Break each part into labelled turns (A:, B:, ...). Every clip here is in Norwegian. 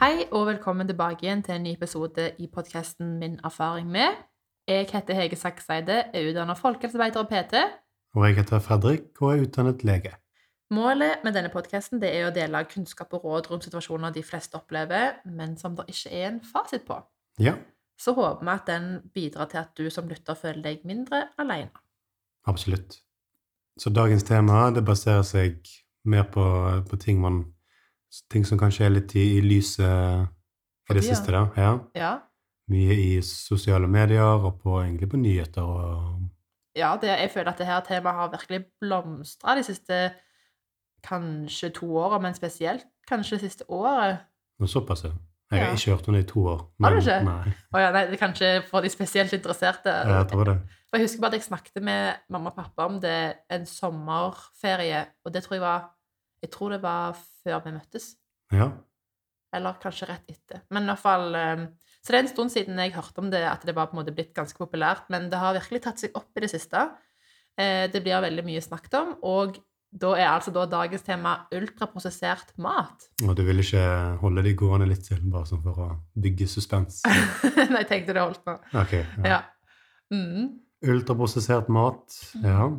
A: Hei og velkommen tilbake igjen til en ny episode i podkasten Min erfaring med. Jeg heter Hege Sakseide, er utdannet folkehelsearbeider og PT.
B: Og jeg heter Fredrik og er utdannet lege.
A: Målet med denne podkasten er å dele kunnskap og råd rundt situasjoner de fleste opplever, men som det ikke er en fasit på.
B: Ja,
A: Så håper vi at den bidrar til at du som lytter føler deg mindre alene.
B: absolutt. Så dagens tema det baserer seg mer på, på ting, man, ting som kanskje er litt i, i lyset i det
A: Forbi, ja.
B: siste. da. Ja.
A: Ja,
B: Mye i sosiale medier og på, egentlig på nyheter. Og,
A: ja det, jeg føler at dette temaet har virkelig blomstra de siste kanskje to åra, men spesielt kanskje det siste året.
B: og såpass. ja. Jeg
A: Ja.
B: har ikke hørt om det i to år.
A: Har du ikke?
B: Nei,
A: Å ja, nei, det er kanskje for de spesielt interesserte.
B: jeg tror det.
A: For jeg husker bare at jeg snakket med mamma og pappa om det en sommerferie, og det tror jeg var Jeg tror det var før vi møttes,
B: Ja,
A: eller kanskje rett etter. Men i hvert fall eh, Så det er en stund siden jeg hørte om det, at det var på en måte blitt ganske populært, men det har virkelig tatt seg opp i det siste. Eh, Det blir veldig mye snakket om, og da er altså da dagens tema ultraprosessert mat.
B: og du vil ikke holde de gående litt til, bare sånn for å bygge suspens.
A: Nei, jeg tenkte det holdt nå.
B: Ok, ja.
A: Ja. Mm.
B: Ultraprosessert mat, ja.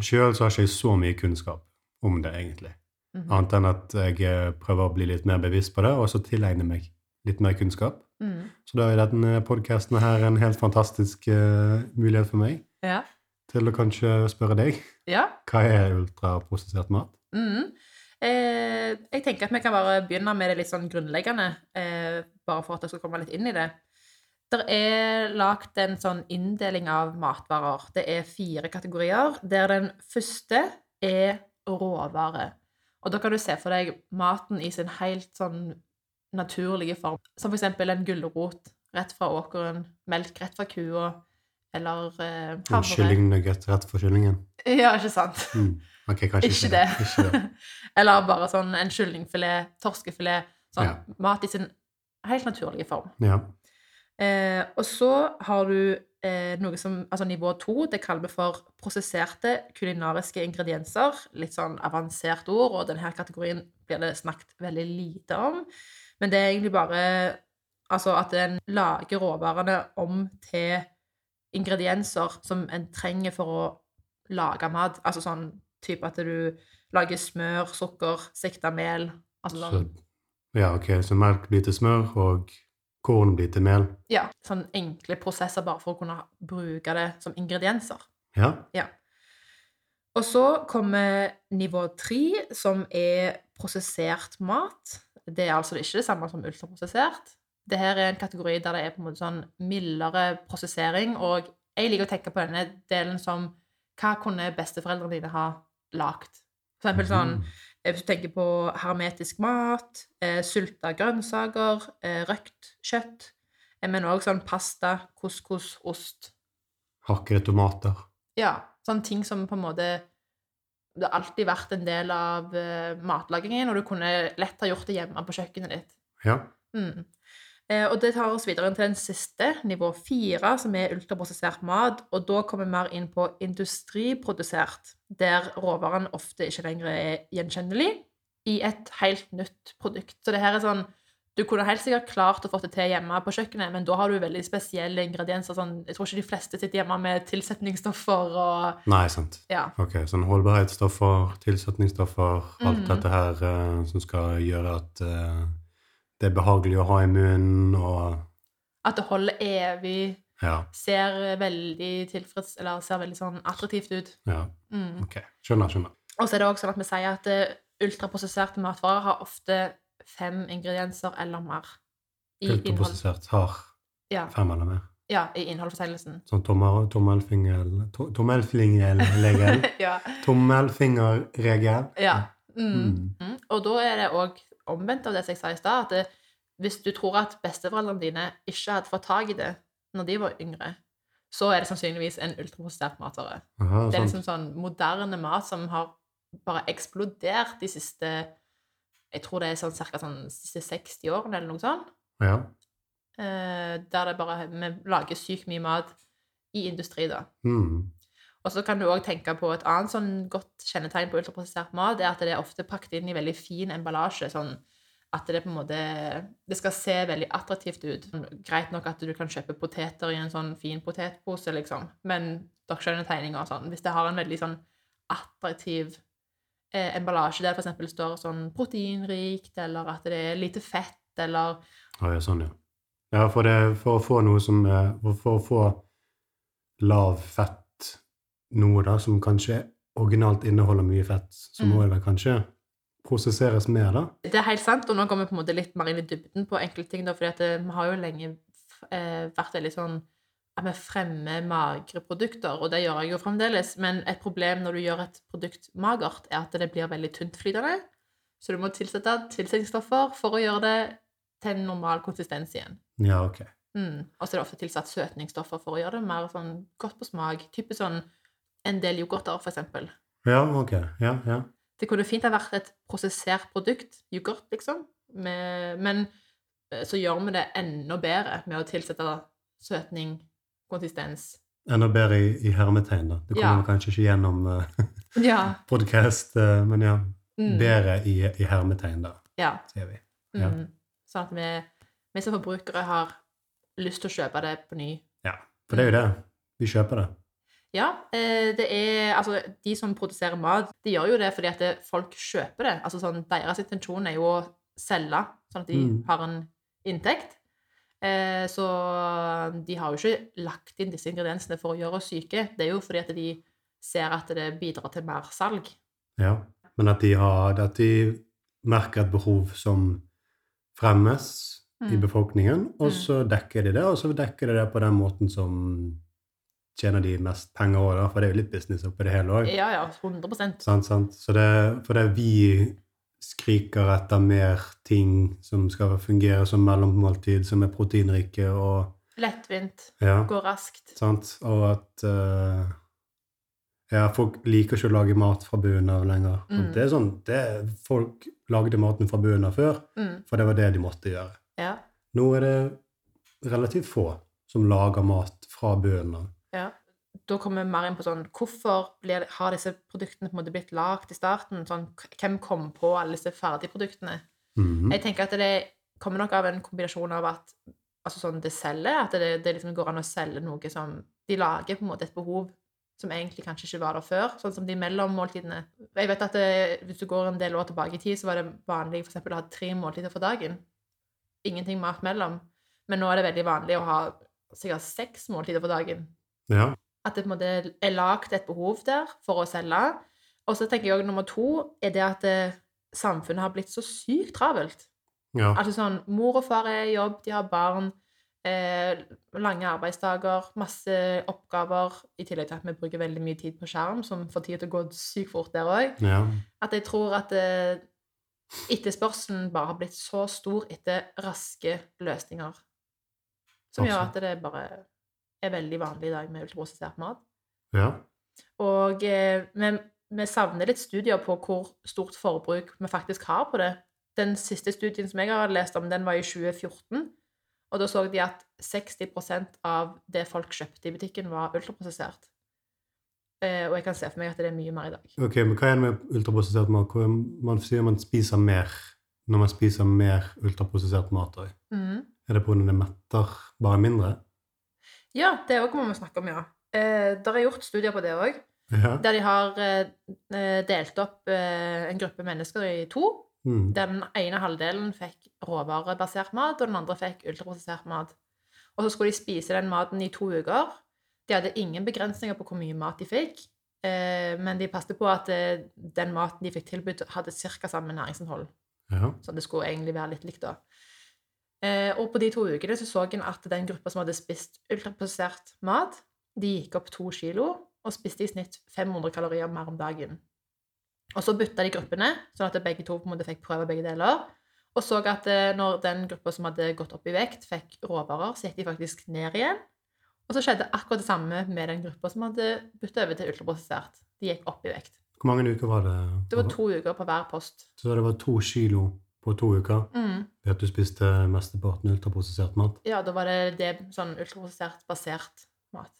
B: Sjøl så har ikke jeg så mye kunnskap om det, egentlig.
A: Mhm.
B: Annet enn at jeg eh, prøver å bli litt mer bevisst på det, og så tilegne meg litt mer kunnskap.
A: Mm.
B: Så da er denne podkasten her en helt fantastisk eh, mulighet for meg
A: Ja.
B: til å kanskje spørre deg
A: ja.
B: hva er ultraprosessert mat?
A: Mm. Eh, jeg tenker at vi kan bare begynne med det litt sånn grunnleggende, eh, bare for at jeg skal komme litt inn i det. Det er lagt en sånn inndeling av matvarer. Det er fire kategorier, der den første er råvare. Og da kan du se for deg maten i sin helt sånn naturlige form, som f.eks. en gulrot rett fra åkeren, melk rett fra kua, eller eh,
B: En
A: havre.
B: Kyllingnugget rett for kyllingen?
A: Ja, ikke sant?
B: Mm. Ok, kanskje
A: Ikke
B: det.
A: det.
B: Ikke det.
A: Eller bare sånn en kyllingfilet, torskefilet. Sånn
B: Ja.
A: mat i sin helt naturlige form.
B: Ja.
A: Eh, og så har du eh, noe som Altså nivå to, det kaller vi for prosesserte kulinariske ingredienser. Litt sånn avansert ord, og denne kategorien blir det snakket veldig lite om. Men det er egentlig bare altså at en lager råvarene om til ingredienser som en trenger for å lage mat. Altså sånn type at du lager smør, sukker, sikta mel. Altså
B: Så,
A: sånn,
B: ja, ok, så melk blir til smør, og korn blir til mel.
A: ja, sånn enkle prosesser bare for å kunne bruke det som ingredienser.
B: Ja.
A: Og så kommer nivå tre, som er prosessert mat. Det er altså ikke det samme som ultraprosessert. Dette er en kategori der det er på en måte sånn mildere prosessering, og jeg liker å tenke på denne delen som hva kunne besteforeldrene dine ha lagd? For eksempel sånn,
B: Mhm.
A: eh, hvis du tenker på hermetisk mat, eh, sulta grønnsaker, eh, røkt kjøtt, eh, men også sånn pasta, couscous, ost.
B: Hakkede tomater.
A: Ja, sånne ting som på en måte Det har alltid vært en del av eh, matlagingen, og du kunne lett ha gjort det hjemme på kjøkkenet ditt.
B: Ja.
A: Mm. Eh, og det tar oss videre inn til den siste, nivå fire, som er ultraprosessert mat. Og da kommer vi mer inn på industriprodusert, der råvaren ofte ikke lenger er gjenkjennelig i et helt nytt produkt. Så det her er sånn Du kunne helt sikkert klart å få det til hjemme på kjøkkenet, men da har du veldig spesielle ingredienser. Sånn, jeg tror ikke de fleste sitter hjemme med tilsetningsstoffer og
B: Nei, sant.
A: Ja.
B: Ok, sånn holdbarhetsstoffer, tilsetningsstoffer, alt
A: Mhm.
B: dette her eh, som skal gjøre at eh, det er behagelig å ha i munnen, og
A: At det holder evig,
B: ja,
A: ser veldig tilfreds... Eller ser veldig sånn attraktivt ut.
B: ja,
A: Mm.
B: ok. Skjønner, skjønner.
A: Og så er det også sånn at vi sier at eh, ultraprosesserte matvarer har ofte fem ingredienser eller mer i innhold.
B: Ultraprosessert har
A: Ja,
B: fem eller mer.
A: ja i innholdsfortegnelsen.
B: Sånn tommel- tommelfingel, to- tommelfingerregel,
A: ja.
B: tommelfingerregel.
A: ja. Mm.
B: Mm.
A: Mm. Og da er det òg omvendt av det som jeg sa i stad, at eh, hvis du tror at besteforeldrene dine ikke hadde fått tak i det når de var yngre, så er det sannsynligvis en ultraprosessert matvare.
B: Aha,
A: Det er
B: sant.
A: liksom sånn moderne mat som har bare eksplodert de siste Jeg tror det er sånn ca. Sånn, siste 60 årene eller noe sånt.
B: Ja,
A: Eh, der det bare Vi lager sykt mye mat i industri, da.
B: mm.
A: Og så kan du òg tenke på et annet sånn godt kjennetegn på ultraprosessert mat, det er at det er ofte pakket inn i veldig fin emballasje. Sånn At det på en måte Det skal se veldig attraktivt ut. Sånn, Greit nok at du kan kjøpe poteter i en sånn fin potetpose, liksom, men dere skjønner tegninger og sånn. Hvis det har en veldig sånn attraktiv eh, emballasje der det f.eks. står sånn proteinrikt, eller at det er lite fett, eller
B: Å, ja, sånn, ja. Ja, for, det, for å få noe som eh, For, for å få lav fett noe, da, som kanskje originalt inneholder mye fett, så må
A: Mm.
B: det vel kanskje prosesseres mer, da?
A: Det er helt sant, og nå går vi på en måte litt mer inn i dybden på enkelte ting, da, fordi at eh, vi har jo lenge eh, vært veldig sånn at vi fremmer magre produkter, og det gjør jeg jo fremdeles, men et problem når du gjør et produkt magert, er at det blir veldig tyntflytende, så du må tilsette tilsetningsstoffer for å gjøre det til en normal konsistens igjen.
B: Ja, ok.
A: Mm. Og så er det ofte tilsatt søtningsstoffer for å gjøre det mer sånn godt på smak, type sånn en del yoghurter, for eksempel.
B: Ja, ok. Ja, ja.
A: Det kunne fint ha vært et prosessert produkt, yoghurt, liksom. Med, men eh, så gjør vi det enda bedre med å tilsette søtning, konsistens.
B: Enda bedre i, i hermetegn, da. Det kommer
A: Ja.
B: kanskje ikke gjennom uh,
A: Ja.
B: podkast, men ja.
A: Mm.
B: Bedre i, i hermetegn, da,
A: ja.
B: sier vi.
A: Mm.
B: Ja.
A: Sånn at vi, vi som forbrukere har lyst til å kjøpe det på ny.
B: For det er jo
A: Mm.
B: det. Vi kjøper det.
A: Ja, eh, det er Altså, de som produserer mat, de gjør jo det fordi at det- folk kjøper det. Altså sånn, Deres intensjon er jo å selge, sånn at de
B: Mm.
A: har en inntekt. Eh, så de har jo ikke lagt inn disse ingrediensene for å gjøre oss syke. Det er jo fordi at de ser at det bidrar til mer salg.
B: Ja. Men at de, har, at de merker et behov som fremmes i
A: Mm.
B: befolkningen,
A: Mm.
B: og så dekker de det, og så dekker de det på den måten som tjener de mest penger òg, da, for det er jo litt business oppi det hele òg.
A: Ja, ja, 100
B: Sant, sant. Så det, for det er vi skriker etter mer ting som skal fungere som mellommåltid, som er proteinrike og
A: Lettvint,
B: Ja,
A: går raskt.
B: sant. Og at eh, Ja, folk liker ikke å lage mat fra bunnen av lenger.
A: Mm.
B: Det er sånn, det, Folk lagde maten fra bunnen av før,
A: Mm.
B: for det var det de måtte gjøre.
A: Ja.
B: Nå er det relativt få som lager mat fra bunnen av.
A: Ja. Da kommer vi mer inn på sånn, hvorfor blir, har disse produktene på en måte blitt lagd i starten? Sånn, k- hvem kom på alle disse ferdigproduktene?
B: Mhm.
A: Jeg tenker at det kommer nok av en kombinasjon av at altså sånn, det selger, at det, det liksom går an å selge noe som De lager på en måte et behov som egentlig kanskje ikke var der før, sånn som de mellommåltidene. Jeg vet at eh, Hvis du går en del år tilbake i tid, så var det vanlig for eksempel, å ha tre måltider for dagen. Ingenting mat mellom. Men nå er det veldig vanlig å ha sikkert seks måltider for dagen.
B: Ja.
A: At det på en måte er lagt et behov der for å selge. Og så tenker jeg også nummer to er det at eh, samfunnet har blitt så sykt travelt.
B: ja.
A: Altså sånn, Mor og far er i jobb, de har barn, eh, lange arbeidsdager, masse oppgaver. I tillegg til at vi bruker veldig mye tid på skjerm, som får tida til å gå sykt fort der òg.
B: ja.
A: At jeg tror at eh, etterspørselen bare har blitt så stor etter raske løsninger. Som gjør at det bare er veldig vanlig i dag med ultraprosessert mat.
B: ja.
A: Og eh, vi, vi savner litt studier på hvor stort forbruk vi faktisk har på det. Den siste studien som jeg har lest om, den var i 2014. Og da så de at 60 av det folk kjøpte i butikken, var ultraprosessert. Eh, og jeg kan se for meg at det er mye mer i dag.
B: Ok, men hva er det med ultraprosessert mat? Hvor Man sier man spiser mer når man spiser mer ultraprosessert mat òg.
A: Mhm.
B: Er det pga. det metter bare mindre?
A: Ja, det òg må vi snakke om, ja. Eh, der er gjort studier på det òg.
B: Ja.
A: Der de har eh, eh, delt opp eh, en gruppe mennesker i to.
B: Mm.
A: Der den ene halvdelen fikk råvarebasert mat, og den andre fikk ultraprosessert mat. Og så skulle de spise den maten i to uker. De hadde ingen begrensninger på hvor mye mat de fikk, eh, men de passet på at eh, den maten de fikk tilbudt, hadde ca. samme næringsinnhold.
B: ja.
A: Så det skulle egentlig være litt likt, da. Eh, og på de to ukene så så en at den gruppa som hadde spist ultraprosessert mat, de gikk opp to kilo og spiste i snitt 500 kalorier mer om dagen. Og så bytta de gruppene, sånn at begge to på en måte fikk prøve begge deler. Og så at eh, når den gruppa som hadde gått opp i vekt, fikk råvarer, så gikk de faktisk ned igjen. Og så skjedde akkurat det samme med den gruppa som hadde bytta over til ultraprosessert. De gikk opp i vekt.
B: Hvor mange uker var det?
A: Det
B: Mhm.
A: var to uker på hver post.
B: Så det var to kilo på to uker
A: Mm.
B: ved at du spiste mesteparten ultraprosessert mat?
A: Ja, da var det det sånn ultraprosessert basert mat.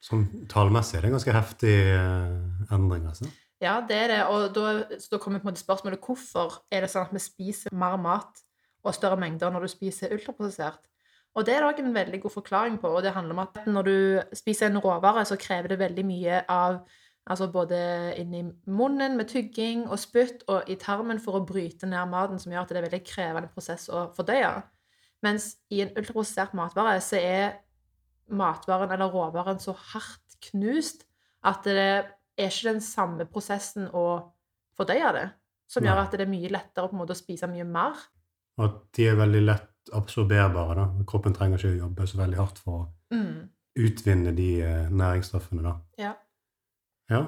B: Sånn tallmessig er det en ganske heftig eh, endring, altså.
A: Ja, det er det. Og da, så da kommer på en måte spørsmålet hvorfor er det sånn at vi spiser mer mat og større mengder når du spiser ultraprosessert. Og det er det også en veldig god forklaring på, og det handler om at når du spiser en råvare, så krever det veldig mye av Altså både inni munnen med tygging og spytt og i tarmen for å bryte ned maten, som gjør at det er en veldig krevende prosess å fordøye. Mens i en ultraprosessert matvare så er matvaren eller råvaren så hardt knust at det er ikke den samme prosessen å fordøye det. Som gjør
B: Nei.
A: at det er mye lettere på en måte å spise mye mer.
B: Og at de er veldig lett absorberbare. da. Kroppen trenger ikke å jobbe så veldig hardt for å
A: Mm.
B: utvinne de eh, næringsstoffene. da.
A: Ja.
B: Ja.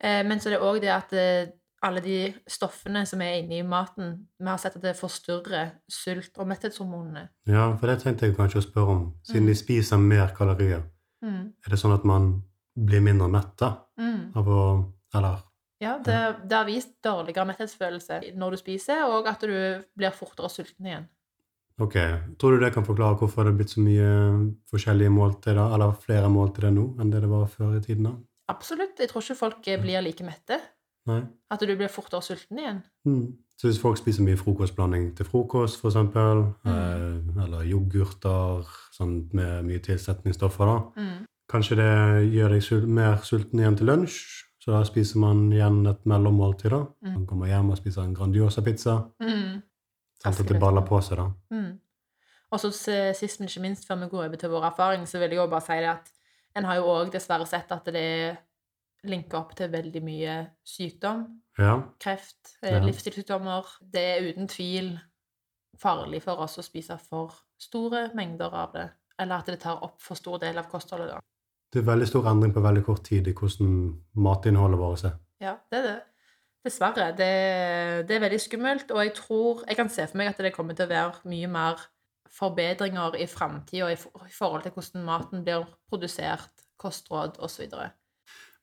A: Eh, men så er det òg det at eh, alle de stoffene som er inni maten Vi har sett at det forstyrrer sult- og metthetshormonene.
B: ja, for det tenkte jeg kanskje å spørre om. Siden de spiser mer kalorier,
A: Mm.
B: er det sånn at man blir mindre mett da?
A: Mm.
B: Av å Eller
A: Ja, det, det har vist dårligere metthetsfølelse når du spiser, og at du blir fortere sulten igjen.
B: Ok. Tror du det kan forklare hvorfor det er blitt så mye forskjellige måltider, eller flere måltider nå enn det det var før i tiden? da?
A: Absolutt. Jeg tror ikke folk eh, blir like mette.
B: Nei?
A: At du blir fortere sulten igjen.
B: Mm. Så hvis folk spiser mye frokostblanding til frokost, f.eks., eksempel, eh, eller yoghurter sånn med mye tilsetningsstoffer, da,
A: Mm.
B: kanskje det gjør deg sul mer sulten igjen til lunsj, så da spiser man igjen et mellommåltid. da.
A: Mm.
B: Man kommer hjem og spiser en Grandiosa-pizza.
A: Mm.
B: Sånn at det baller på seg, da.
A: Mm. Og så s- sist, men ikke minst, før vi går over til vår erfaring, så vil jeg jo bare si det at en har jo òg dessverre sett at det linker opp til veldig mye sykdom.
B: Ja.
A: Kreft, eh,
B: Ja.
A: livsstilssykdommer. Det er uten tvil farlig for oss å spise for store mengder av det. Eller at det tar opp for stor del av kostholdet. da.
B: Det er veldig stor endring på veldig kort tid i hvordan matinnholdet vårt er.
A: Ja, det er det. Dessverre. Det, det er veldig skummelt, og jeg tror Jeg kan se for meg at det kommer til å være mye mer forbedringer i framtida i, for- i forhold til hvordan maten blir produsert, kostråd osv.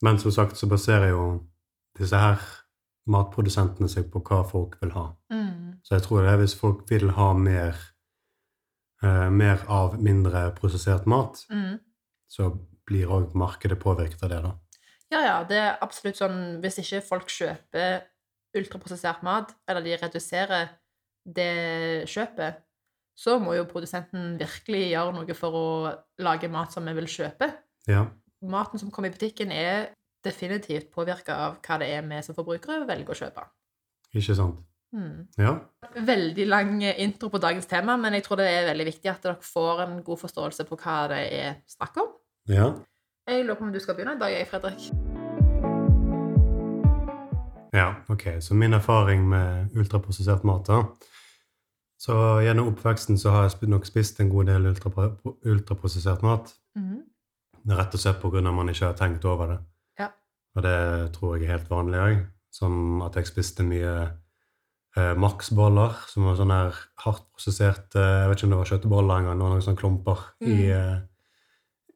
B: Men som sagt så baserer jo disse her matprodusentene seg på hva folk vil ha.
A: Mm.
B: Så jeg tror det er hvis folk vil ha mer, eh, mer av mindre prosessert mat,
A: Mm.
B: så blir òg markedet påvirket av det, da.
A: Ja, ja, det er absolutt sånn Hvis ikke folk kjøper ultraprosessert mat, eller de reduserer det kjøpet, så må jo produsenten virkelig gjøre noe for å lage mat som vi vil kjøpe.
B: Ja.
A: maten som kommer i butikken, er definitivt påvirka av hva det er vi som forbrukere velger å kjøpe.
B: Ikke sant?
A: Hmm.
B: Ja.
A: Veldig lang intro på dagens tema, men jeg tror det er veldig viktig at dere får en god forståelse på hva det er snakk om.
B: ja.
A: Jeg lurer på om du skal begynne i dag, jeg, Fredrik.
B: Ja, ok. Så min erfaring med ultraprosessert mat, da Så gjennom oppveksten så har jeg sp- nok spist en god del ultrapro- ultraprosessert mat.
A: Mhm.
B: Rett og slett pga. at man ikke har tenkt over det.
A: Ja.
B: Og det tror jeg er helt vanlig òg. Som at jeg spiste mye eh, maksboller, som var sånne her hardt prosesserte Jeg vet ikke om det var kjøttboller engang, det var noen sånne klumper i,
A: Mm.
B: eh,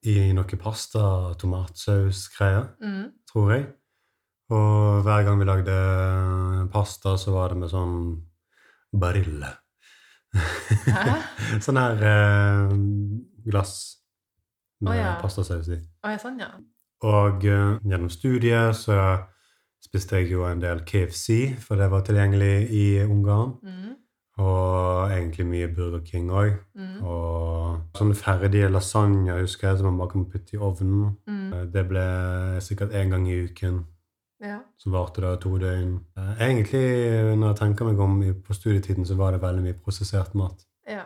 B: i noe pasta, tomatsausgreier,
A: Mhm.
B: tror jeg. Og hver gang vi lagde eh, pasta, så var det med sånn barille.
A: Hæ?
B: sånn her eh, glass med
A: Å ja.
B: pastasaus i.
A: Å, ja, sånn, ja.
B: Og eh, gjennom studiet så spiste jeg jo en del KFC, for det var tilgjengelig i Ungarn.
A: Mhm.
B: Og egentlig mye Burger King òg.
A: Mhm.
B: Og sånne ferdige lasagner husker jeg, som man bare kan putte i ovnen.
A: Mhm.
B: Eh, Det ble sikkert én gang i uken.
A: Ja.
B: Så varte det to døgn. Eh, Egentlig, når jeg tenker meg om i- på studietiden, så var det veldig mye prosessert mat.
A: Ja.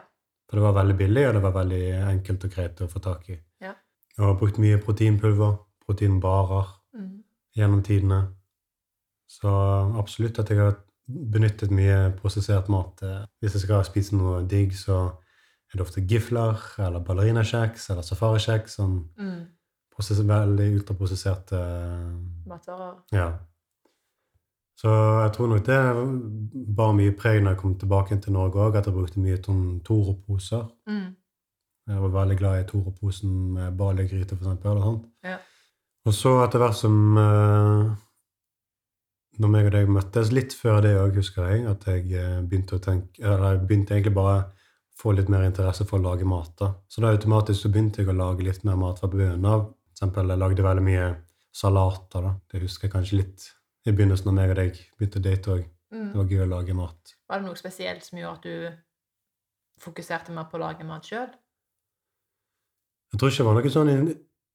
B: For det var veldig billig, og det var veldig enkelt og greit å få tak i.
A: Ja.
B: Jeg har brukt mye proteinpulver, proteinbarer
A: Mhm.
B: gjennom tidene. Så eh, absolutt at jeg har benyttet mye prosessert mat. Eh, Hvis jeg skal spise noe digg, så er det ofte gifler eller ballerinakjeks eller safarikjeks. Sånn
A: Mhm.
B: prosess- veldig ultraprosesserte
A: Matvarer.
B: Ja. Så jeg tror nok det bar mye preg når jeg kom tilbake til Norge òg, at jeg brukte mye sånn Toro-poser.
A: Mhm.
B: Jeg var veldig glad i Toro-posen med baljegryte, for eksempel. Og, sånt.
A: Ja.
B: og så etter hvert som eh, Når meg og deg møttes litt før det òg, husker jeg, at jeg eh, begynte å tenke Eller jeg begynte egentlig bare å få litt mer interesse for å lage mat. da. Så da automatisk så begynte jeg å lage litt mer mat fra bunnen av. For eksempel, jeg lagde veldig mye salater. da. Det husker jeg kanskje litt i begynnelsen når meg og deg begynte å date òg.
A: Mhm.
B: Det var gøy å lage mat.
A: Var det noe spesielt som gjorde at du fokuserte mer på å lage mat sjøl?
B: Jeg tror ikke det var noe sånn inn-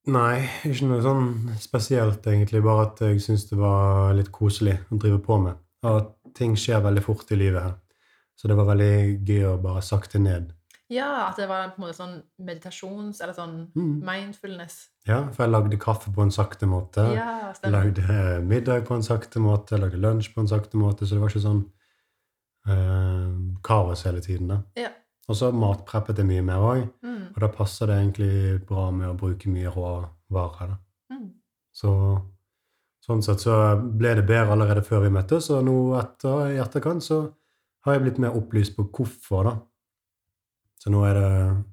B: Nei, ikke noe sånn spesielt, egentlig. Bare at jeg syns det var litt koselig å drive på med. Og at ting skjer veldig fort i livet her. Så det var veldig gøy å bare sakte ned.
A: Ja, at det var på en måte sånn meditasjons- eller sånn
B: Mm.
A: mindfulness.
B: Ja, for jeg lagde kaffe på en sakte måte.
A: Ja, stemmer.
B: lagde eh, middag på en sakte måte, lagde lunsj på en sakte måte, så det var ikke sånn eh, kaos hele tiden. da.
A: Ja.
B: Og så matpreppet jeg mye mer òg,
A: Mm,
B: og da passer det egentlig bra med å bruke mye råvarer. da.
A: mm.
B: Så sånn sett så ble det bedre allerede før vi møttes, og nå etter, i etterkant så har jeg blitt mer opplyst på hvorfor, da. Så nå er det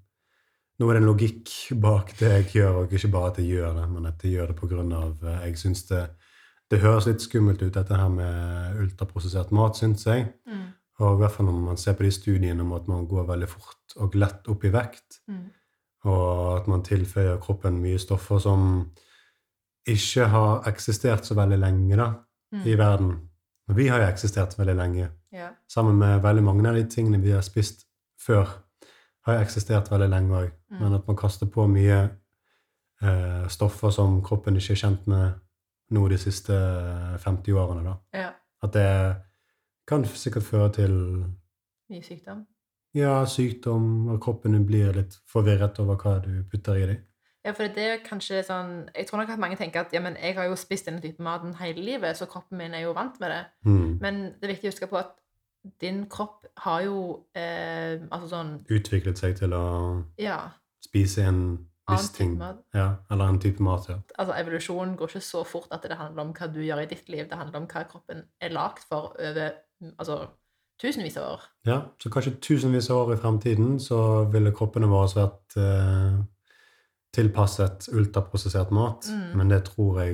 B: nå er det en logikk bak det jeg gjør, og ikke bare at jeg gjør det, men at jeg gjør det på grunn av eh, Jeg syns det Det høres litt skummelt ut, dette her med ultraprosessert mat, syns jeg.
A: Mm,
B: Og i hvert fall når man ser på de studiene om at man går veldig fort og lett opp i vekt,
A: mm,
B: og at man tilføyer kroppen mye stoffer som ikke har eksistert så veldig lenge da,
A: mm.
B: i verden. Og vi har jo eksistert veldig lenge.
A: Ja.
B: Sammen med veldig mange av de tingene vi har spist før, har jo eksistert veldig lenge òg.
A: Mm.
B: Men at man kaster på mye eh, stoffer som kroppen ikke er kjent med nå de siste 50 årene. da.
A: ja.
B: At det kan sikkert føre til
A: Mye sykdom.
B: ja, sykdom, og kroppen blir litt forvirret over hva du putter i dem.
A: Ja, for det er kanskje sånn Jeg tror nok at mange tenker at ja, men jeg har jo spist denne typen maten hele livet, så kroppen min er jo vant med det.
B: Mm.
A: Men det er viktig å huske på at din kropp har jo eh, Altså sånn
B: Utviklet seg til å
A: Ja.
B: spise en
A: Annen
B: viss
A: type
B: ting.
A: mat.
B: Ja, eller en type mat, ja.
A: Altså evolusjonen går ikke så fort at det handler om hva du gjør i ditt liv. Det handler om hva kroppen er lagd for over altså, tusenvis av år.
B: ja. Så kanskje tusenvis av år i fremtiden så ville kroppene våre vært eh, tilpasset ultraprosessert mat,
A: Mm.
B: men det tror jeg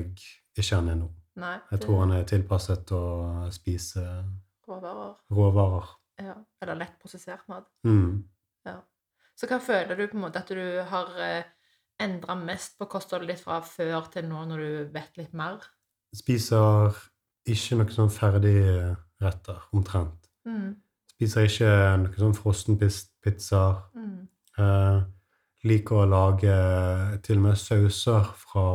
B: ikke han er nå.
A: Nei.
B: Jeg
A: det-
B: tror han er tilpasset å spise
A: råvarer.
B: råvarer.
A: Ja. Eller lett prosessert mat.
B: Mm.
A: Så hva føler du på en måte at du har eh, endra mest på kostholdet ditt fra før til nå, når du vet litt mer?
B: Spiser ikke noen sånn ferdige retter, omtrent.
A: Mm.
B: Spiser ikke noen sånn frostenpizzaer.
A: Mm.
B: Eh, liker å lage til og med sauser fra,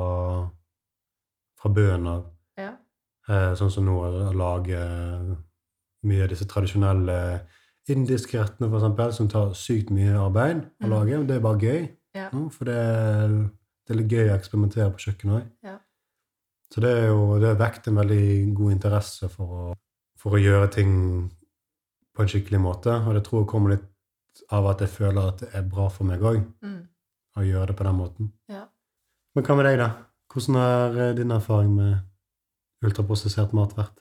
B: fra bønene.
A: Ja.
B: Eh, sånn som nå å lage eh, mye av disse tradisjonelle indiske rettene, for eksempel, som tar sykt mye arbeid å
A: Mm.
B: lage. Det er bare gøy,
A: Ja.
B: Mm, for det er, det er litt gøy å eksperimentere på kjøkkenet òg.
A: Ja.
B: Så det er jo det har vekt en veldig god interesse for å, for å gjøre ting på en skikkelig måte, og det tror jeg kommer litt av at jeg føler at det er bra for meg òg
A: Mm.
B: å gjøre det på den måten.
A: Ja.
B: Men hva med deg, da? Hvordan har eh, din erfaring med ultraprosessert mat vært?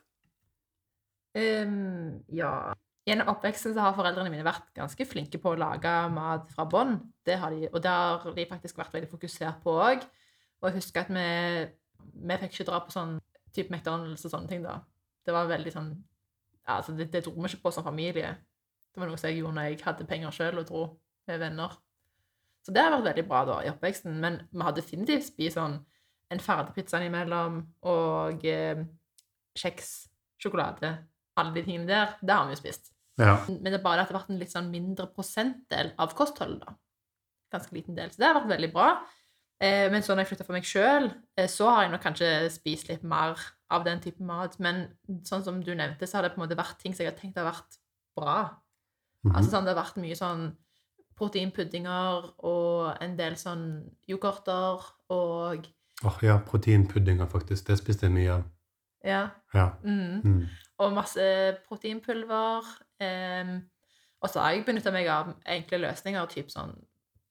A: Ehm, ja. Gjennom oppveksten så har foreldrene mine vært ganske flinke på å lage mat fra bånn. Det har de, og det har de faktisk vært veldig fokusert på òg. Og jeg husker at vi, vi fikk ikke dra på sånn type McDonald's og sånne ting, da. Det var veldig sånn ja, altså det, det dro vi ikke på som familie. Det var noe som jeg gjorde når jeg hadde penger sjøl og dro med venner. Så det har vært veldig bra da i oppveksten. Men vi har definitivt spist sånn en ferdigpizza innimellom og eh, kjeks, sjokolade alle de tingene der, det har vi jo spist.
B: Ja.
A: Men det er bare at det har vært en litt sånn mindre prosentdel av kostholdet, da. Ganske liten del. Så det har vært veldig bra. Eh, men så når jeg flytta for meg sjøl, eh, så har jeg nok kanskje spist litt mer av den type mat. Men sånn som du nevnte, så har det på en måte vært ting som jeg har tenkt har vært bra.
B: Mhm.
A: Altså sånn, Det har vært mye sånn proteinpuddinger og en del sånn yoghurter og
B: Åh, ja, proteinpuddinger, faktisk. Det spiste jeg mye av.
A: Ja.
B: Ja.
A: Mm.
B: Mm.
A: og masse proteinpulver. Eh, og så har jeg benytta meg av enkle løsninger, typ sånn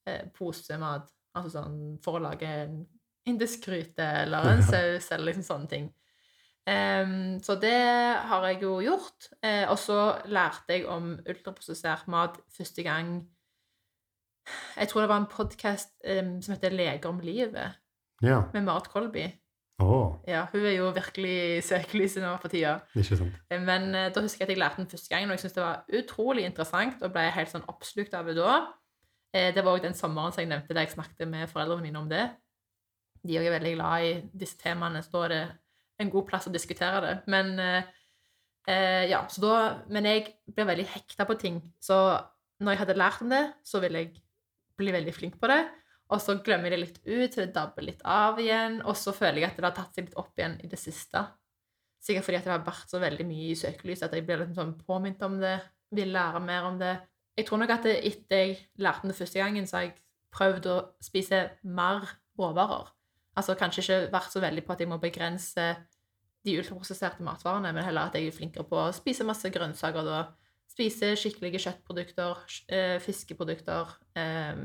A: eh, posemat, altså sånn for å lage en indisk gryte eller en
B: Ja.
A: saus eller liksom sånne ting. Eh, så det har jeg jo gjort. Eh, og så lærte jeg om ultraprosessert mat første gang Jeg tror det var en podkast som heter 'Leger om livet',
B: ja.
A: med Marit Kolby.
B: Å,
A: Ja, hun er jo virkelig i søkelyset nå for tida.
B: ikke sant.
A: Men eh, da husker jeg at jeg lærte den første gangen, og jeg syntes det var utrolig interessant, og ble helt sånn oppslukt av det da. Eh, Det var òg den sommeren som jeg nevnte, da jeg snakket med foreldrene mine om det. De òg er veldig glad i disse temaene, så da er det en god plass å diskutere det. Men eh, eh, ja, så da Men jeg blir veldig hekta på ting. Så når jeg hadde lært om det, så ville jeg bli veldig flink på det. Og så glemmer jeg det litt ut, så det dabber litt av igjen. Og så føler jeg at det har tatt seg litt opp igjen i det siste. Sikkert fordi at det har vært så veldig mye i søkelyset at jeg blir liksom sånn påminnet om det. Vil lære mer om det. Jeg tror nok at det, etter jeg lærte om det første gangen, så har jeg prøvd å spise mer råvarer. Altså kanskje ikke vært så veldig på at jeg må begrense de ultraprosesserte matvarene, men heller at jeg er flinkere på å spise masse grønnsaker da. Spise skikkelige kjøttprodukter, sj- eh, fiskeprodukter. Eh,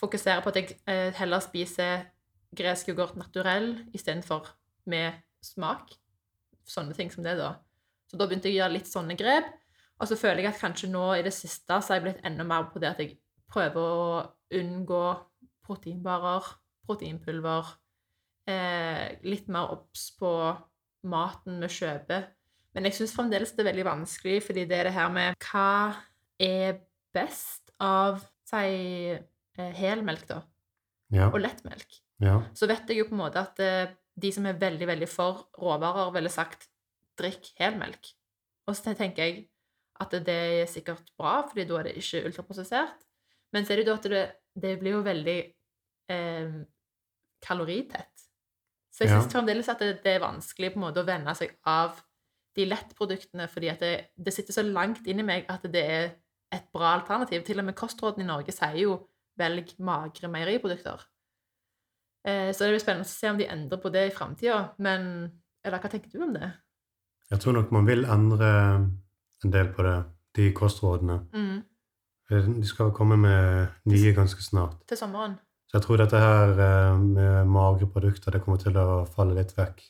A: fokusere på at jeg eh, heller spiser gresk yoghurt naturell istedenfor med smak. Sånne ting som det, da. Så da begynte jeg å gjøre litt sånne grep. Og så føler jeg at kanskje nå i det siste så har jeg blitt enda mer på det at jeg prøver å unngå proteinbarer, proteinpulver. Eh, litt mer obs på maten vi kjøper. Men jeg syns fremdeles det er veldig vanskelig, fordi det er det her med hva er best av si eh, helmelk, da,
B: Ja.
A: og lettmelk
B: ja.
A: så vet jeg jo på en måte at eh, de som er veldig, veldig for råvarer, ville sagt drikk helmelk. Og så tenker jeg at det er sikkert bra, fordi da er det ikke ultraprosessert. Men så er det jo da at det, det blir jo veldig eh, kaloritett. Så jeg
B: Ja.
A: syns fremdeles at det, det er vanskelig på en måte å venne seg av de lettproduktene, fordi at det, det sitter så langt inn i meg at det er et bra alternativ. Til og med kostrådene i Norge sier jo 'velg magre meieriprodukter'. Eh, Så det blir spennende å se om de endrer på det i framtida. Men eller hva tenker du om det?
B: Jeg tror nok man vil endre en del på det, de kostrådene. Eh, De skal komme med nye ganske snart.
A: Til sommeren?
B: Så jeg tror dette her eh, med magre produkter, det kommer til å falle litt vekk.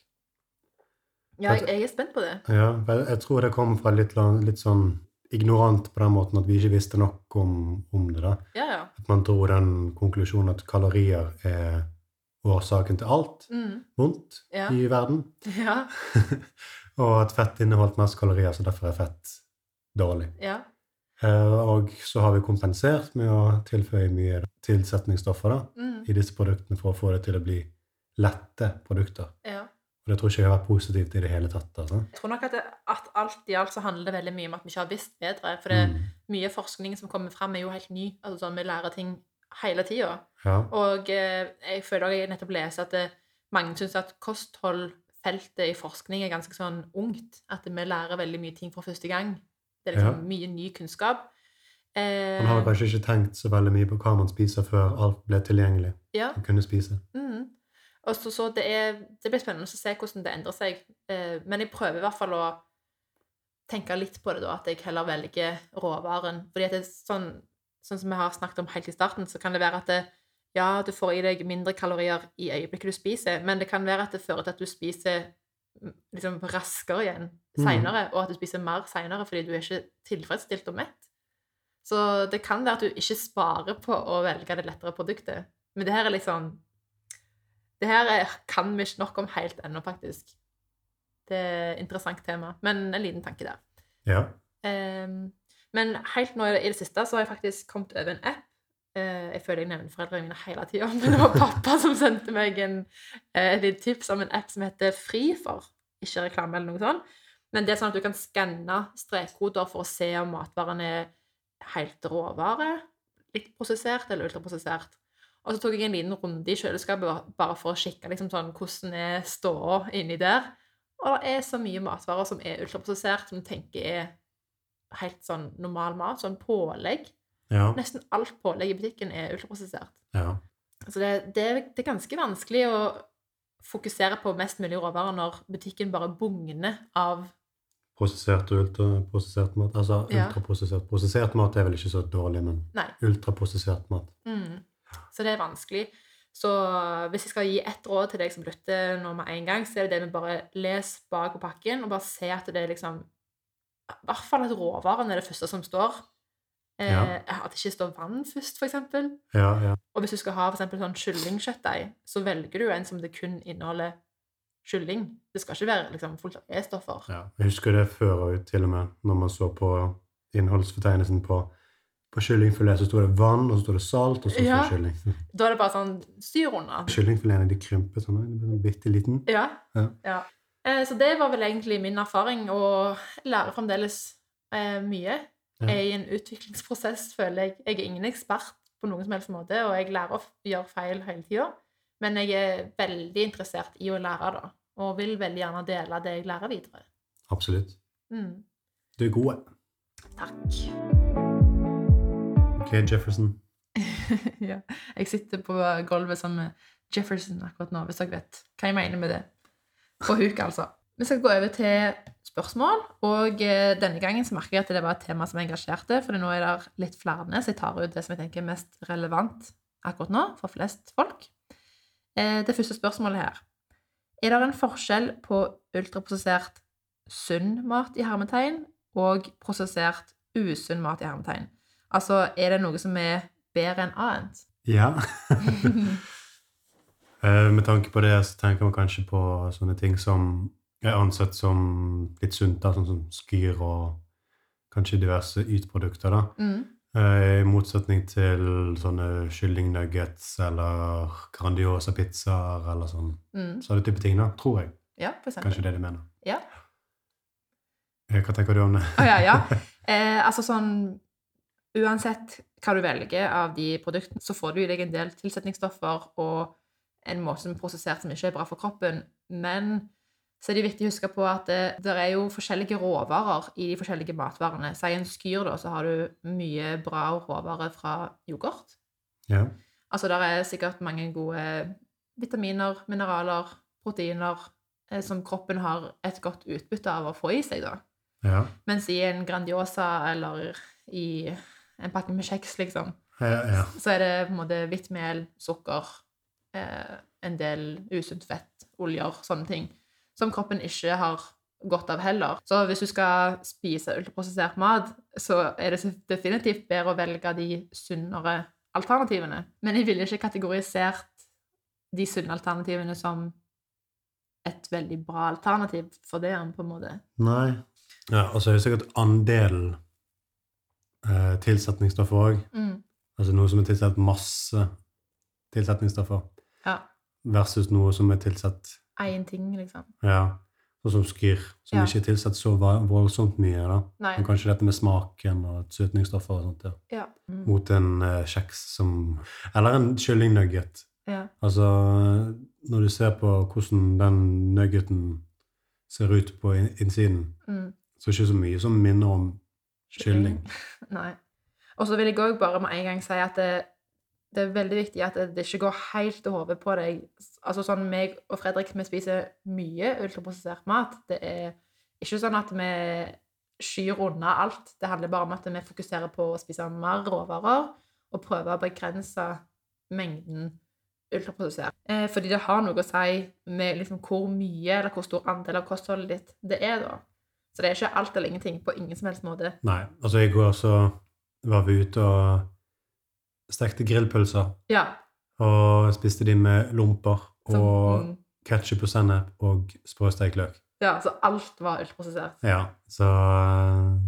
A: Ja, jeg,
B: Vet-
A: jeg er spent på det.
B: Ja, vel, jeg tror det kommer fra litt, la- litt sånn ignorant på den måten at vi ikke visste nok om, om det. da.
A: Ja, ja.
B: At man dro den konklusjonen at kalorier er årsaken til alt
A: Mm.
B: vondt
A: Ja.
B: i verden.
A: ja.
B: og at fett inneholdt mest kalorier, så derfor er fett dårlig.
A: ja.
B: Eh, Og så har vi kompensert med å tilføye mye tilsetningsstoffer da,
A: Mm.
B: i disse produktene for å få det til å bli lette produkter.
A: ja.
B: Og det tror ikke jeg har vært positivt i det hele tatt. altså.
A: Jeg tror nok at, det, at alt i alt så handler det veldig mye om at vi ikke har visst bedre. For det,
B: Mm.
A: mye forskning som kommer fram, er jo helt ny. Altså sånn, Vi lærer ting hele tida.
B: Ja.
A: Og eh, jeg føler også jeg nettopp leser at det, mange syns at kostholdfeltet i forskning er ganske sånn ungt. At vi lærer veldig mye ting for første gang. Det er liksom mye ny kunnskap. Eh,
B: Man har kanskje ikke tenkt så veldig mye på hva man spiser før alt ble tilgjengelig.
A: ja.
B: Man kunne spise.
A: Mm. Og så, så det, er, det blir spennende å se hvordan det endrer seg. Eh, men jeg prøver i hvert fall å tenke litt på det, da, at jeg heller velger råvaren. Fordi at det er sånn, sånn som vi har snakket om helt i starten, så kan det være at det, ja, du får i deg mindre kalorier i øyeblikket du spiser, men det kan være at det fører til at du spiser mm, liksom, raskere igjen
B: Mm.
A: seinere, og at du spiser mer seinere fordi du er ikke tilfredsstilt og mett. Så det kan være at du ikke sparer på å velge det lettere produktet. Men det her er litt sånn Det her er, kan vi ikke nok om helt ennå, faktisk. Det er et interessant tema, men en liten tanke der.
B: Ja.
A: Ehm, men helt nå i det, i det siste så har jeg faktisk kommet over en app. Eh, jeg føler jeg nevner foreldrene mine hele tida, men det var pappa som sendte meg en, eh, et lite tips om en app som heter Frifor. Ikke reklame eller noe sånt. Men det er sånn at du kan skanne strekkoder for å se om matvaren er helt råvare, litt prosessert eller ultraprosessert. Og så tok jeg en liten runde i kjøleskapet ba- bare for å sjekke liksom sånn, hvordan er ståa inni der. Og det er så mye matvarer som er ultraprosessert, som du tenker er helt sånn normal mat, sånn pålegg.
B: Ja.
A: Nesten alt pålegg i butikken er ultraprosessert.
B: ja.
A: Så det, det, er- det er ganske vanskelig å fokusere på mest mulig råvarer når butikken bare bugner av
B: Prosessert og ultraprosessert mat. Altså
A: Ja.
B: ultraprosessert. Prosessert mat er vel ikke så dårlig, men
A: Nei.
B: ultraprosessert mat.
A: Mm. Så det er vanskelig. Så hvis jeg skal gi ett råd til deg som lytter nå med en gang, så er det det med bare les bak på pakken, og bare se at det er liksom I hvert fall at råvaren er det første som står. Eh, At det ikke står vann først, for eksempel.
B: Ja, ja.
A: Og hvis du skal ha for eksempel sånn kyllingkjøttdeig, så velger du en som det kun inneholder kylling. Det skal ikke være liksom, fullt av E-stoffer.
B: ja. Jeg husker det før og til og med, når man så på innholdsfortegnelsen på på kyllingfilet så sto det vann, og så sto det salt, og så sto det
A: Ja.
B: kylling.
A: Da er det bare sånn styr unna.
B: Kyllingfiletene de krympet sånn, de ble bitte liten.
A: Ja.
B: Ja.
A: Eh, Så det var vel egentlig min erfaring, og lærer fremdeles eh, mye.
B: Ja.
A: er i en utviklingsprosess, føler jeg. Jeg er ingen ekspert på noen som helst måte, og jeg lærer å f- gjøre feil hele tida. Men jeg er veldig interessert i å lære, da. Og vil veldig gjerne dele det jeg lærer videre.
B: Absolutt.
A: Mm.
B: Du er god.
A: Takk.
B: OK, Jefferson.
A: ja. Jeg sitter på gulvet sammen med Jefferson akkurat nå, hvis dere vet hva jeg mener med det. På huk, altså. Vi skal gå over til spørsmål, og eh, denne gangen så merker jeg at det var et tema som engasjerte, for nå er det litt flere, så jeg tar ut det som jeg tenker er mest relevant akkurat nå for flest folk. Eh, Det første spørsmålet her. Er det en forskjell på ultraprosessert sunn mat i hermetegn og prosessert usunn mat i hermetegn? Altså, er det noe som er bedre enn annet?
B: Ja. Eh, Med tanke på det så tenker man kanskje på sånne ting som er ansett som litt sunt, da, sånn som skyr og kanskje diverse ytprodukter. da.
A: Mm.
B: Eh, I motsetning til sånne kyllingnuggets eller Grandiosa pizzaer eller sånn.
A: Mm.
B: Så det type ting, da, tror jeg.
A: Ja, for eksempel.
B: Kanskje det du mener.
A: Ja.
B: Eh, Hva tenker du om det?
A: Å, ja, ja. Eh, altså sånn Uansett hva du velger av de produktene, så får du i deg en del tilsetningsstoffer og en måte som er prosessert som ikke er bra for kroppen. Men så er det viktig å huske på at det, det er jo forskjellige råvarer i de forskjellige matvarene. Si en skyr, da, så har du mye bra råvarer fra yoghurt.
B: Ja.
A: Altså, der er sikkert mange gode vitaminer, mineraler, proteiner eh, som kroppen har et godt utbytte av å få i seg, da.
B: ja.
A: Mens i en Grandiosa eller i en pakke med kjeks, liksom,
B: Ja, ja.
A: så er det på en måte hvitt mel, sukker, eh, en del usunt fett, oljer, sånne ting, som kroppen ikke har godt av heller. Så hvis du skal spise ultraprosessert mat, så er det definitivt bedre å velge de sunnere alternativene. Men jeg ville ikke kategorisert de sunne alternativene som et veldig bra alternativ for det, på en måte.
B: Nei. Ja, og så er det sikkert andelen eh, tilsetningsstoffer òg.
A: Mm.
B: Altså noe som er tilsatt masse tilsetningsstoffer,
A: Ja.
B: versus noe som er tilsatt
A: Én ting, liksom.
B: ja, sånn som skyr, som
A: Ja.
B: ikke er tilsatt så va- voldsomt mye. da.
A: Nei.
B: Men kanskje dette med smaken og søtningsstoffer og sånt, ja.
A: Ja. Mm.
B: mot en eh, kjeks som Eller en kyllingnugget.
A: ja.
B: Altså, når du ser på hvordan den nuggeten ser ut på in- innsiden,
A: Mm.
B: så er det ikke så mye som minner om kylling.
A: Nei. Og så vil jeg òg bare med en gang si at det, det er veldig viktig at det ikke går helt til hodet på deg. Altså sånn meg og Fredrik, vi spiser mye ultraprosessert mat. Det er ikke sånn at vi skyr unna alt. Det handler bare om at vi fokuserer på å spise mer råvarer og prøve å begrense mengden ultraprosessert. Eh, fordi det har noe å si med liksom hvor mye eller hvor stor andel av kostholdet ditt det er, da. Så det er ikke alt eller ingenting på ingen som helst måte.
B: Nei. Altså, i går så var vi ute og stekte grillpølser.
A: Ja,
B: Og spiste de med lomper
A: Som-
B: og
A: mm.
B: ketsjup og sennep og sprøstekt løk.
A: ja, så alt var ultraprosessert.
B: Ja, så eh,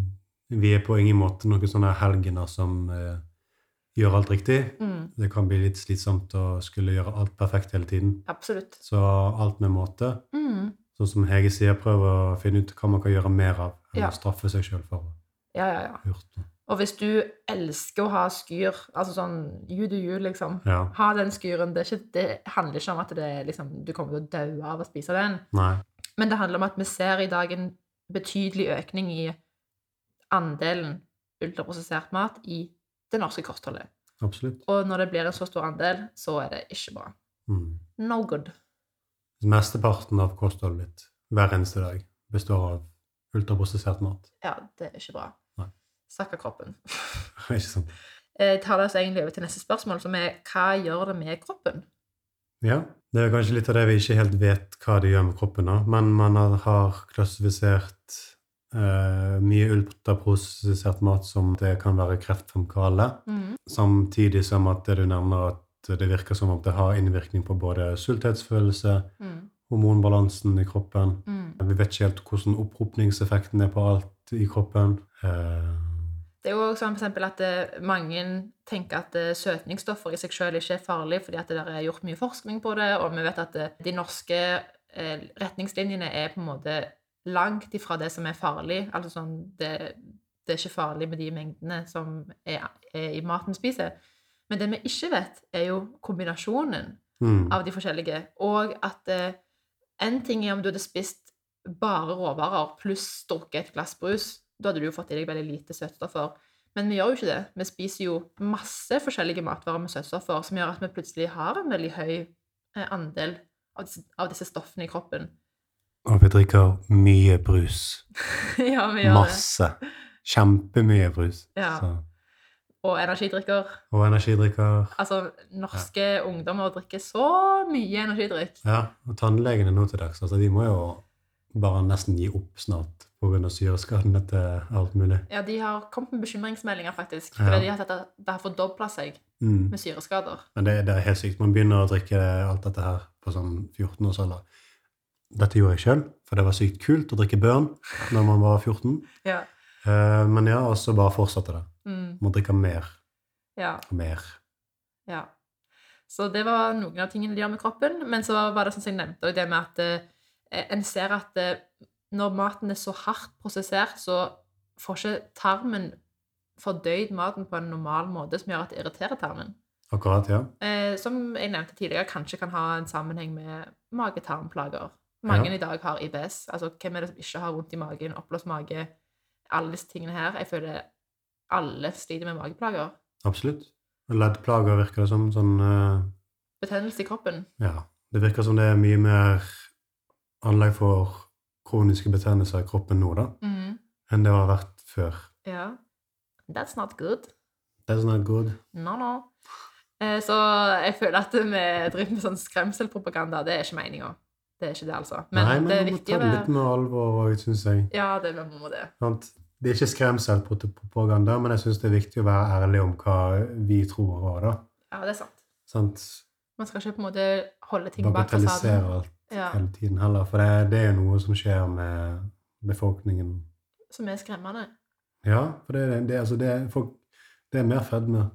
B: vi er på ingen måte noen sånne helgener som eh, gjør alt riktig.
A: Mm,
B: Det kan bli litt slitsomt å skulle gjøre alt perfekt hele tiden.
A: absolutt.
B: Så alt med måte.
A: Mm.
B: Sånn som Hege sier, prøv å finne ut hva man kan gjøre mer av. Eller
A: Ja.
B: straffe seg sjøl for å
A: Ja, ja, ja.
B: ha gjort noe.
A: Og hvis du elsker å ha skyr, altså sånn you do you, liksom
B: Ja.
A: Ha den skyren. Det, er ikke, det handler ikke om at det, er liksom, du kommer til å daue av å spise den.
B: Nei.
A: Men det handler om at vi ser i dag en betydelig økning i andelen ultraprosessert mat i det norske kostholdet.
B: Absolutt.
A: Og når det blir en så stor andel, så er det ikke bra.
B: Mm.
A: No good.
B: Mesteparten av kostholdet ditt hver eneste dag består av ultraprosessert mat.
A: Ja, det er ikke bra.
B: Nei.
A: Stakkar kroppen.
B: Ikke sant?
A: Eh, tar det oss egentlig over til neste spørsmål, som er hva gjør det med kroppen?
B: Ja, det er kanskje litt av det vi ikke helt vet hva det gjør med kroppen, da. men man har- har klassifisert eh, mye ultraprosessert mat som det kan være kreftfremkallende, samtidig som at det du nevner at det virker som om det har innvirkning på både sulthetsfølelse, hormonbalansen i kroppen. Vi vet ikke helt hvordan opphopningseffekten er på alt i kroppen. Eh,
A: Det er jo også sånn for eksempel at eh, mange tenker at eh, søtningsstoffer i seg selv ikke er farlig, fordi at det der er gjort mye forskning på det, og vi vet at eh, de norske eh, retningslinjene er på en måte langt ifra det som er farlig, altså sånn det det er ikke farlig med de mengdene som er, er i maten vi spiser. Men det vi ikke vet, er jo kombinasjonen
B: Mm.
A: av de forskjellige. Og at eh, en ting er om du hadde spist bare råvarer pluss drukket et glass brus. Da hadde du jo fått i deg veldig lite søtstoffer. Men vi gjør jo ikke det. Vi spiser jo masse forskjellige matvarer med søtstoffer, som gjør at vi plutselig har en veldig høy eh, andel av disse, av disse stoffene i kroppen.
B: Og vi drikker mye brus.
A: ja, vi gjør det.
B: Masse. Kjempemye brus.
A: Ja.
B: Så-
A: Og energidrikker.
B: Og energidrikker.
A: Altså, norske ungdommer drikker så mye energidrikk.
B: Ja, og tannlegene nå til dags, altså de må jo bare nesten gi opp snart pga. syreskadene til alt mulig.
A: Ja, de har kommet med bekymringsmeldinger, faktisk.
B: Ja.
A: Fordi de har sett at det har fordobla seg
B: Mm.
A: med syreskader.
B: Men det, det er helt sykt. Man begynner å drikke alt dette her på sånn 14-årsalder. Dette gjorde jeg sjøl, for det var sykt kult å drikke Børn når man var 14.
A: Ja.
B: Eh, Men ja, og så bare fortsatte det.
A: Mm,
B: Må drikke mer
A: ja,
B: og mer.
A: ja. Så det var noen av tingene de gjør med kroppen. Men så var det sånn som jeg nevnte, og det med at eh, en ser at eh, når maten er så hardt prosessert, så får ikke tarmen fordøyd maten på en normal måte som gjør at det irriterer tarmen.
B: Akkurat, ja.
A: Eh, som jeg nevnte tidligere, kanskje kan ha en sammenheng med mage-tarm-plager. Mange
B: Ja.
A: i dag har IBS. Altså, hvem er det som ikke har vondt i magen, oppblåst mage, alle disse tingene her? Jeg føler alle sliter med mageplager.
B: Absolutt. Leddplager virker det som sånn eh,
A: Betennelse i kroppen.
B: Ja. Det virker som det er mye mer anlegg for kroniske betennelser i kroppen nå, da,
A: Mhm.
B: enn det har vært før.
A: Ja. That's not good.
B: Det er sånn her good.
A: No, no. Eh, så jeg føler at vi driver med sånn skremselpropaganda. Det er ikke meninga. Det er ikke det, altså. Men,
B: Nei,
A: det
B: men
A: er
B: man må
A: viktig
B: ta
A: å
B: det
A: være
B: litt med alvor òg, syns jeg.
A: Ja, det vi må det.
B: Sant? Det er ikke skremselpropaganda, men jeg syns det er viktig å være ærlig om hva vi tror òg, da.
A: Ja, det er sant.
B: Sant?
A: Man skal ikke på en måte holde ting bak
B: Bagatellisere
A: fasaden.
B: alt
A: Ja,
B: hele tiden heller, for det, det er jo noe som skjer med befolkningen.
A: som er skremmende.
B: Ja, for det, er- det, er- altså det, er folk, det er mer fedme,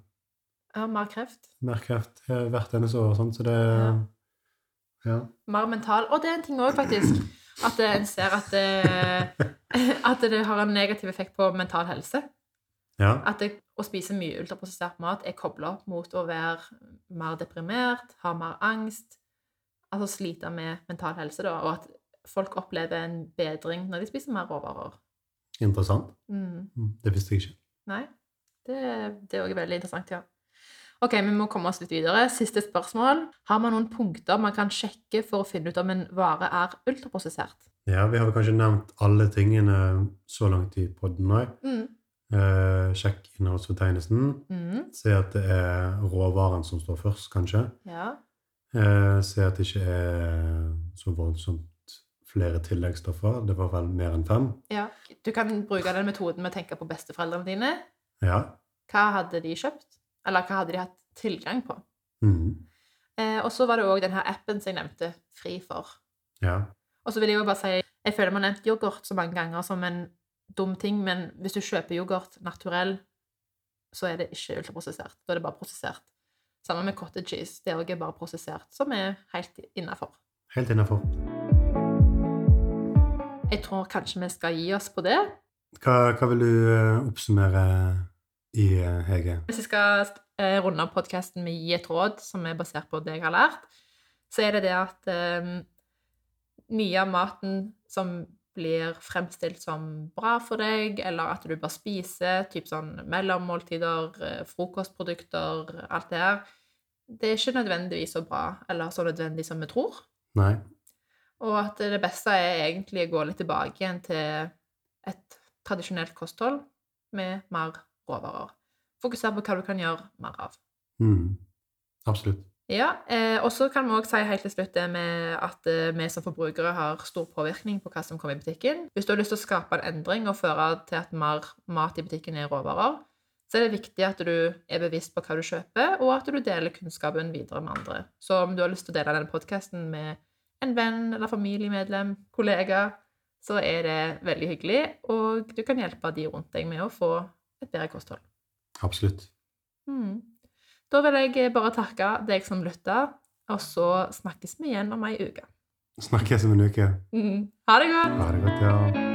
A: Ja, mer kreft.
B: mer kreft eh, hvert eneste år, sant? så det Ja.
A: Mer mental. Og det er en ting òg, faktisk. At eh, en ser at det, at det har en negativ effekt på mental helse.
B: ja.
A: At det, å spise mye ultraprosessert mat er kobla opp mot å være mer deprimert, ha mer angst. Altså slite med mental helse, da. Og at folk opplever en bedring når de spiser mer råvarer.
B: Interessant.
A: Mm.
B: Mm, Det visste jeg ikke.
A: Nei. Det, det er òg veldig interessant, ja. Ok, Vi må komme oss litt videre. Siste spørsmål. Har man noen punkter man kan sjekke for å finne ut om en vare er ultraprosessert?
B: Ja, Vi har vel kanskje nevnt alle tingene så langt i podden òg.
A: Mm.
B: Eh, sjekk innholdsfortegnelsen.
A: Mm.
B: Se at det er råvaren som står først, kanskje.
A: Ja.
B: Eh, se at det ikke er så voldsomt flere tilleggsstoffer. Det var vel mer enn fem.
A: ja. Du kan bruke den metoden med å tenke på besteforeldrene dine.
B: Ja.
A: Hva hadde de kjøpt? Eller hva hadde de hatt tilgang på?
B: Mm.
A: Eh, og så var det òg denne appen som jeg nevnte, Fri for.
B: Ja.
A: Og så vil jeg jo bare si Jeg føler man har nevnt yoghurt så mange ganger som en dum ting, men hvis du kjøper yoghurt naturell, så er det ikke ultraprosessert. Da er det bare prosessert. Sammen med cottage cheese. Det òg er bare prosessert, som er helt innafor.
B: Helt innafor.
A: Jeg tror kanskje vi skal gi oss på det.
B: Hva, hva vil du eh, oppsummere i, eh, Hege?
A: Hvis jeg skal eh, runde av podkasten med å gi et råd som er basert på det jeg har lært, så er det det at eh, mye av maten som blir fremstilt som bra for deg, eller at du bør spise, typ sånn mellommåltider, eh, frokostprodukter, alt det her, det er ikke nødvendigvis så bra, eller så nødvendig som vi tror.
B: Nei.
A: Og at det beste er egentlig å gå litt tilbake igjen til et tradisjonelt kosthold med mer råvarer. Fokusere på hva du kan gjøre mer av.
B: Mm. Absolutt.
A: Ja, eh, Og så kan vi også si helt til slutt det med at eh, vi som forbrukere har stor påvirkning på hva som kommer i butikken. Hvis du har lyst til å skape en endring og føre til at mer mat i butikken er råvarer, så er det viktig at du er bevisst på hva du kjøper, og at du deler kunnskapen videre med andre. Så om du har lyst til å dele denne podkasten med en venn eller familiemedlem, kollega, så er det veldig hyggelig, og du kan hjelpe de rundt deg med å få et bedre kosthold.
B: Absolutt.
A: Mm. Da vil jeg eh, bare takke deg som lytta, og så snakkes vi igjen om ei uke.
B: Snakkes om en uke.
A: Mm. Ha det godt!
B: Ha det godt, ja.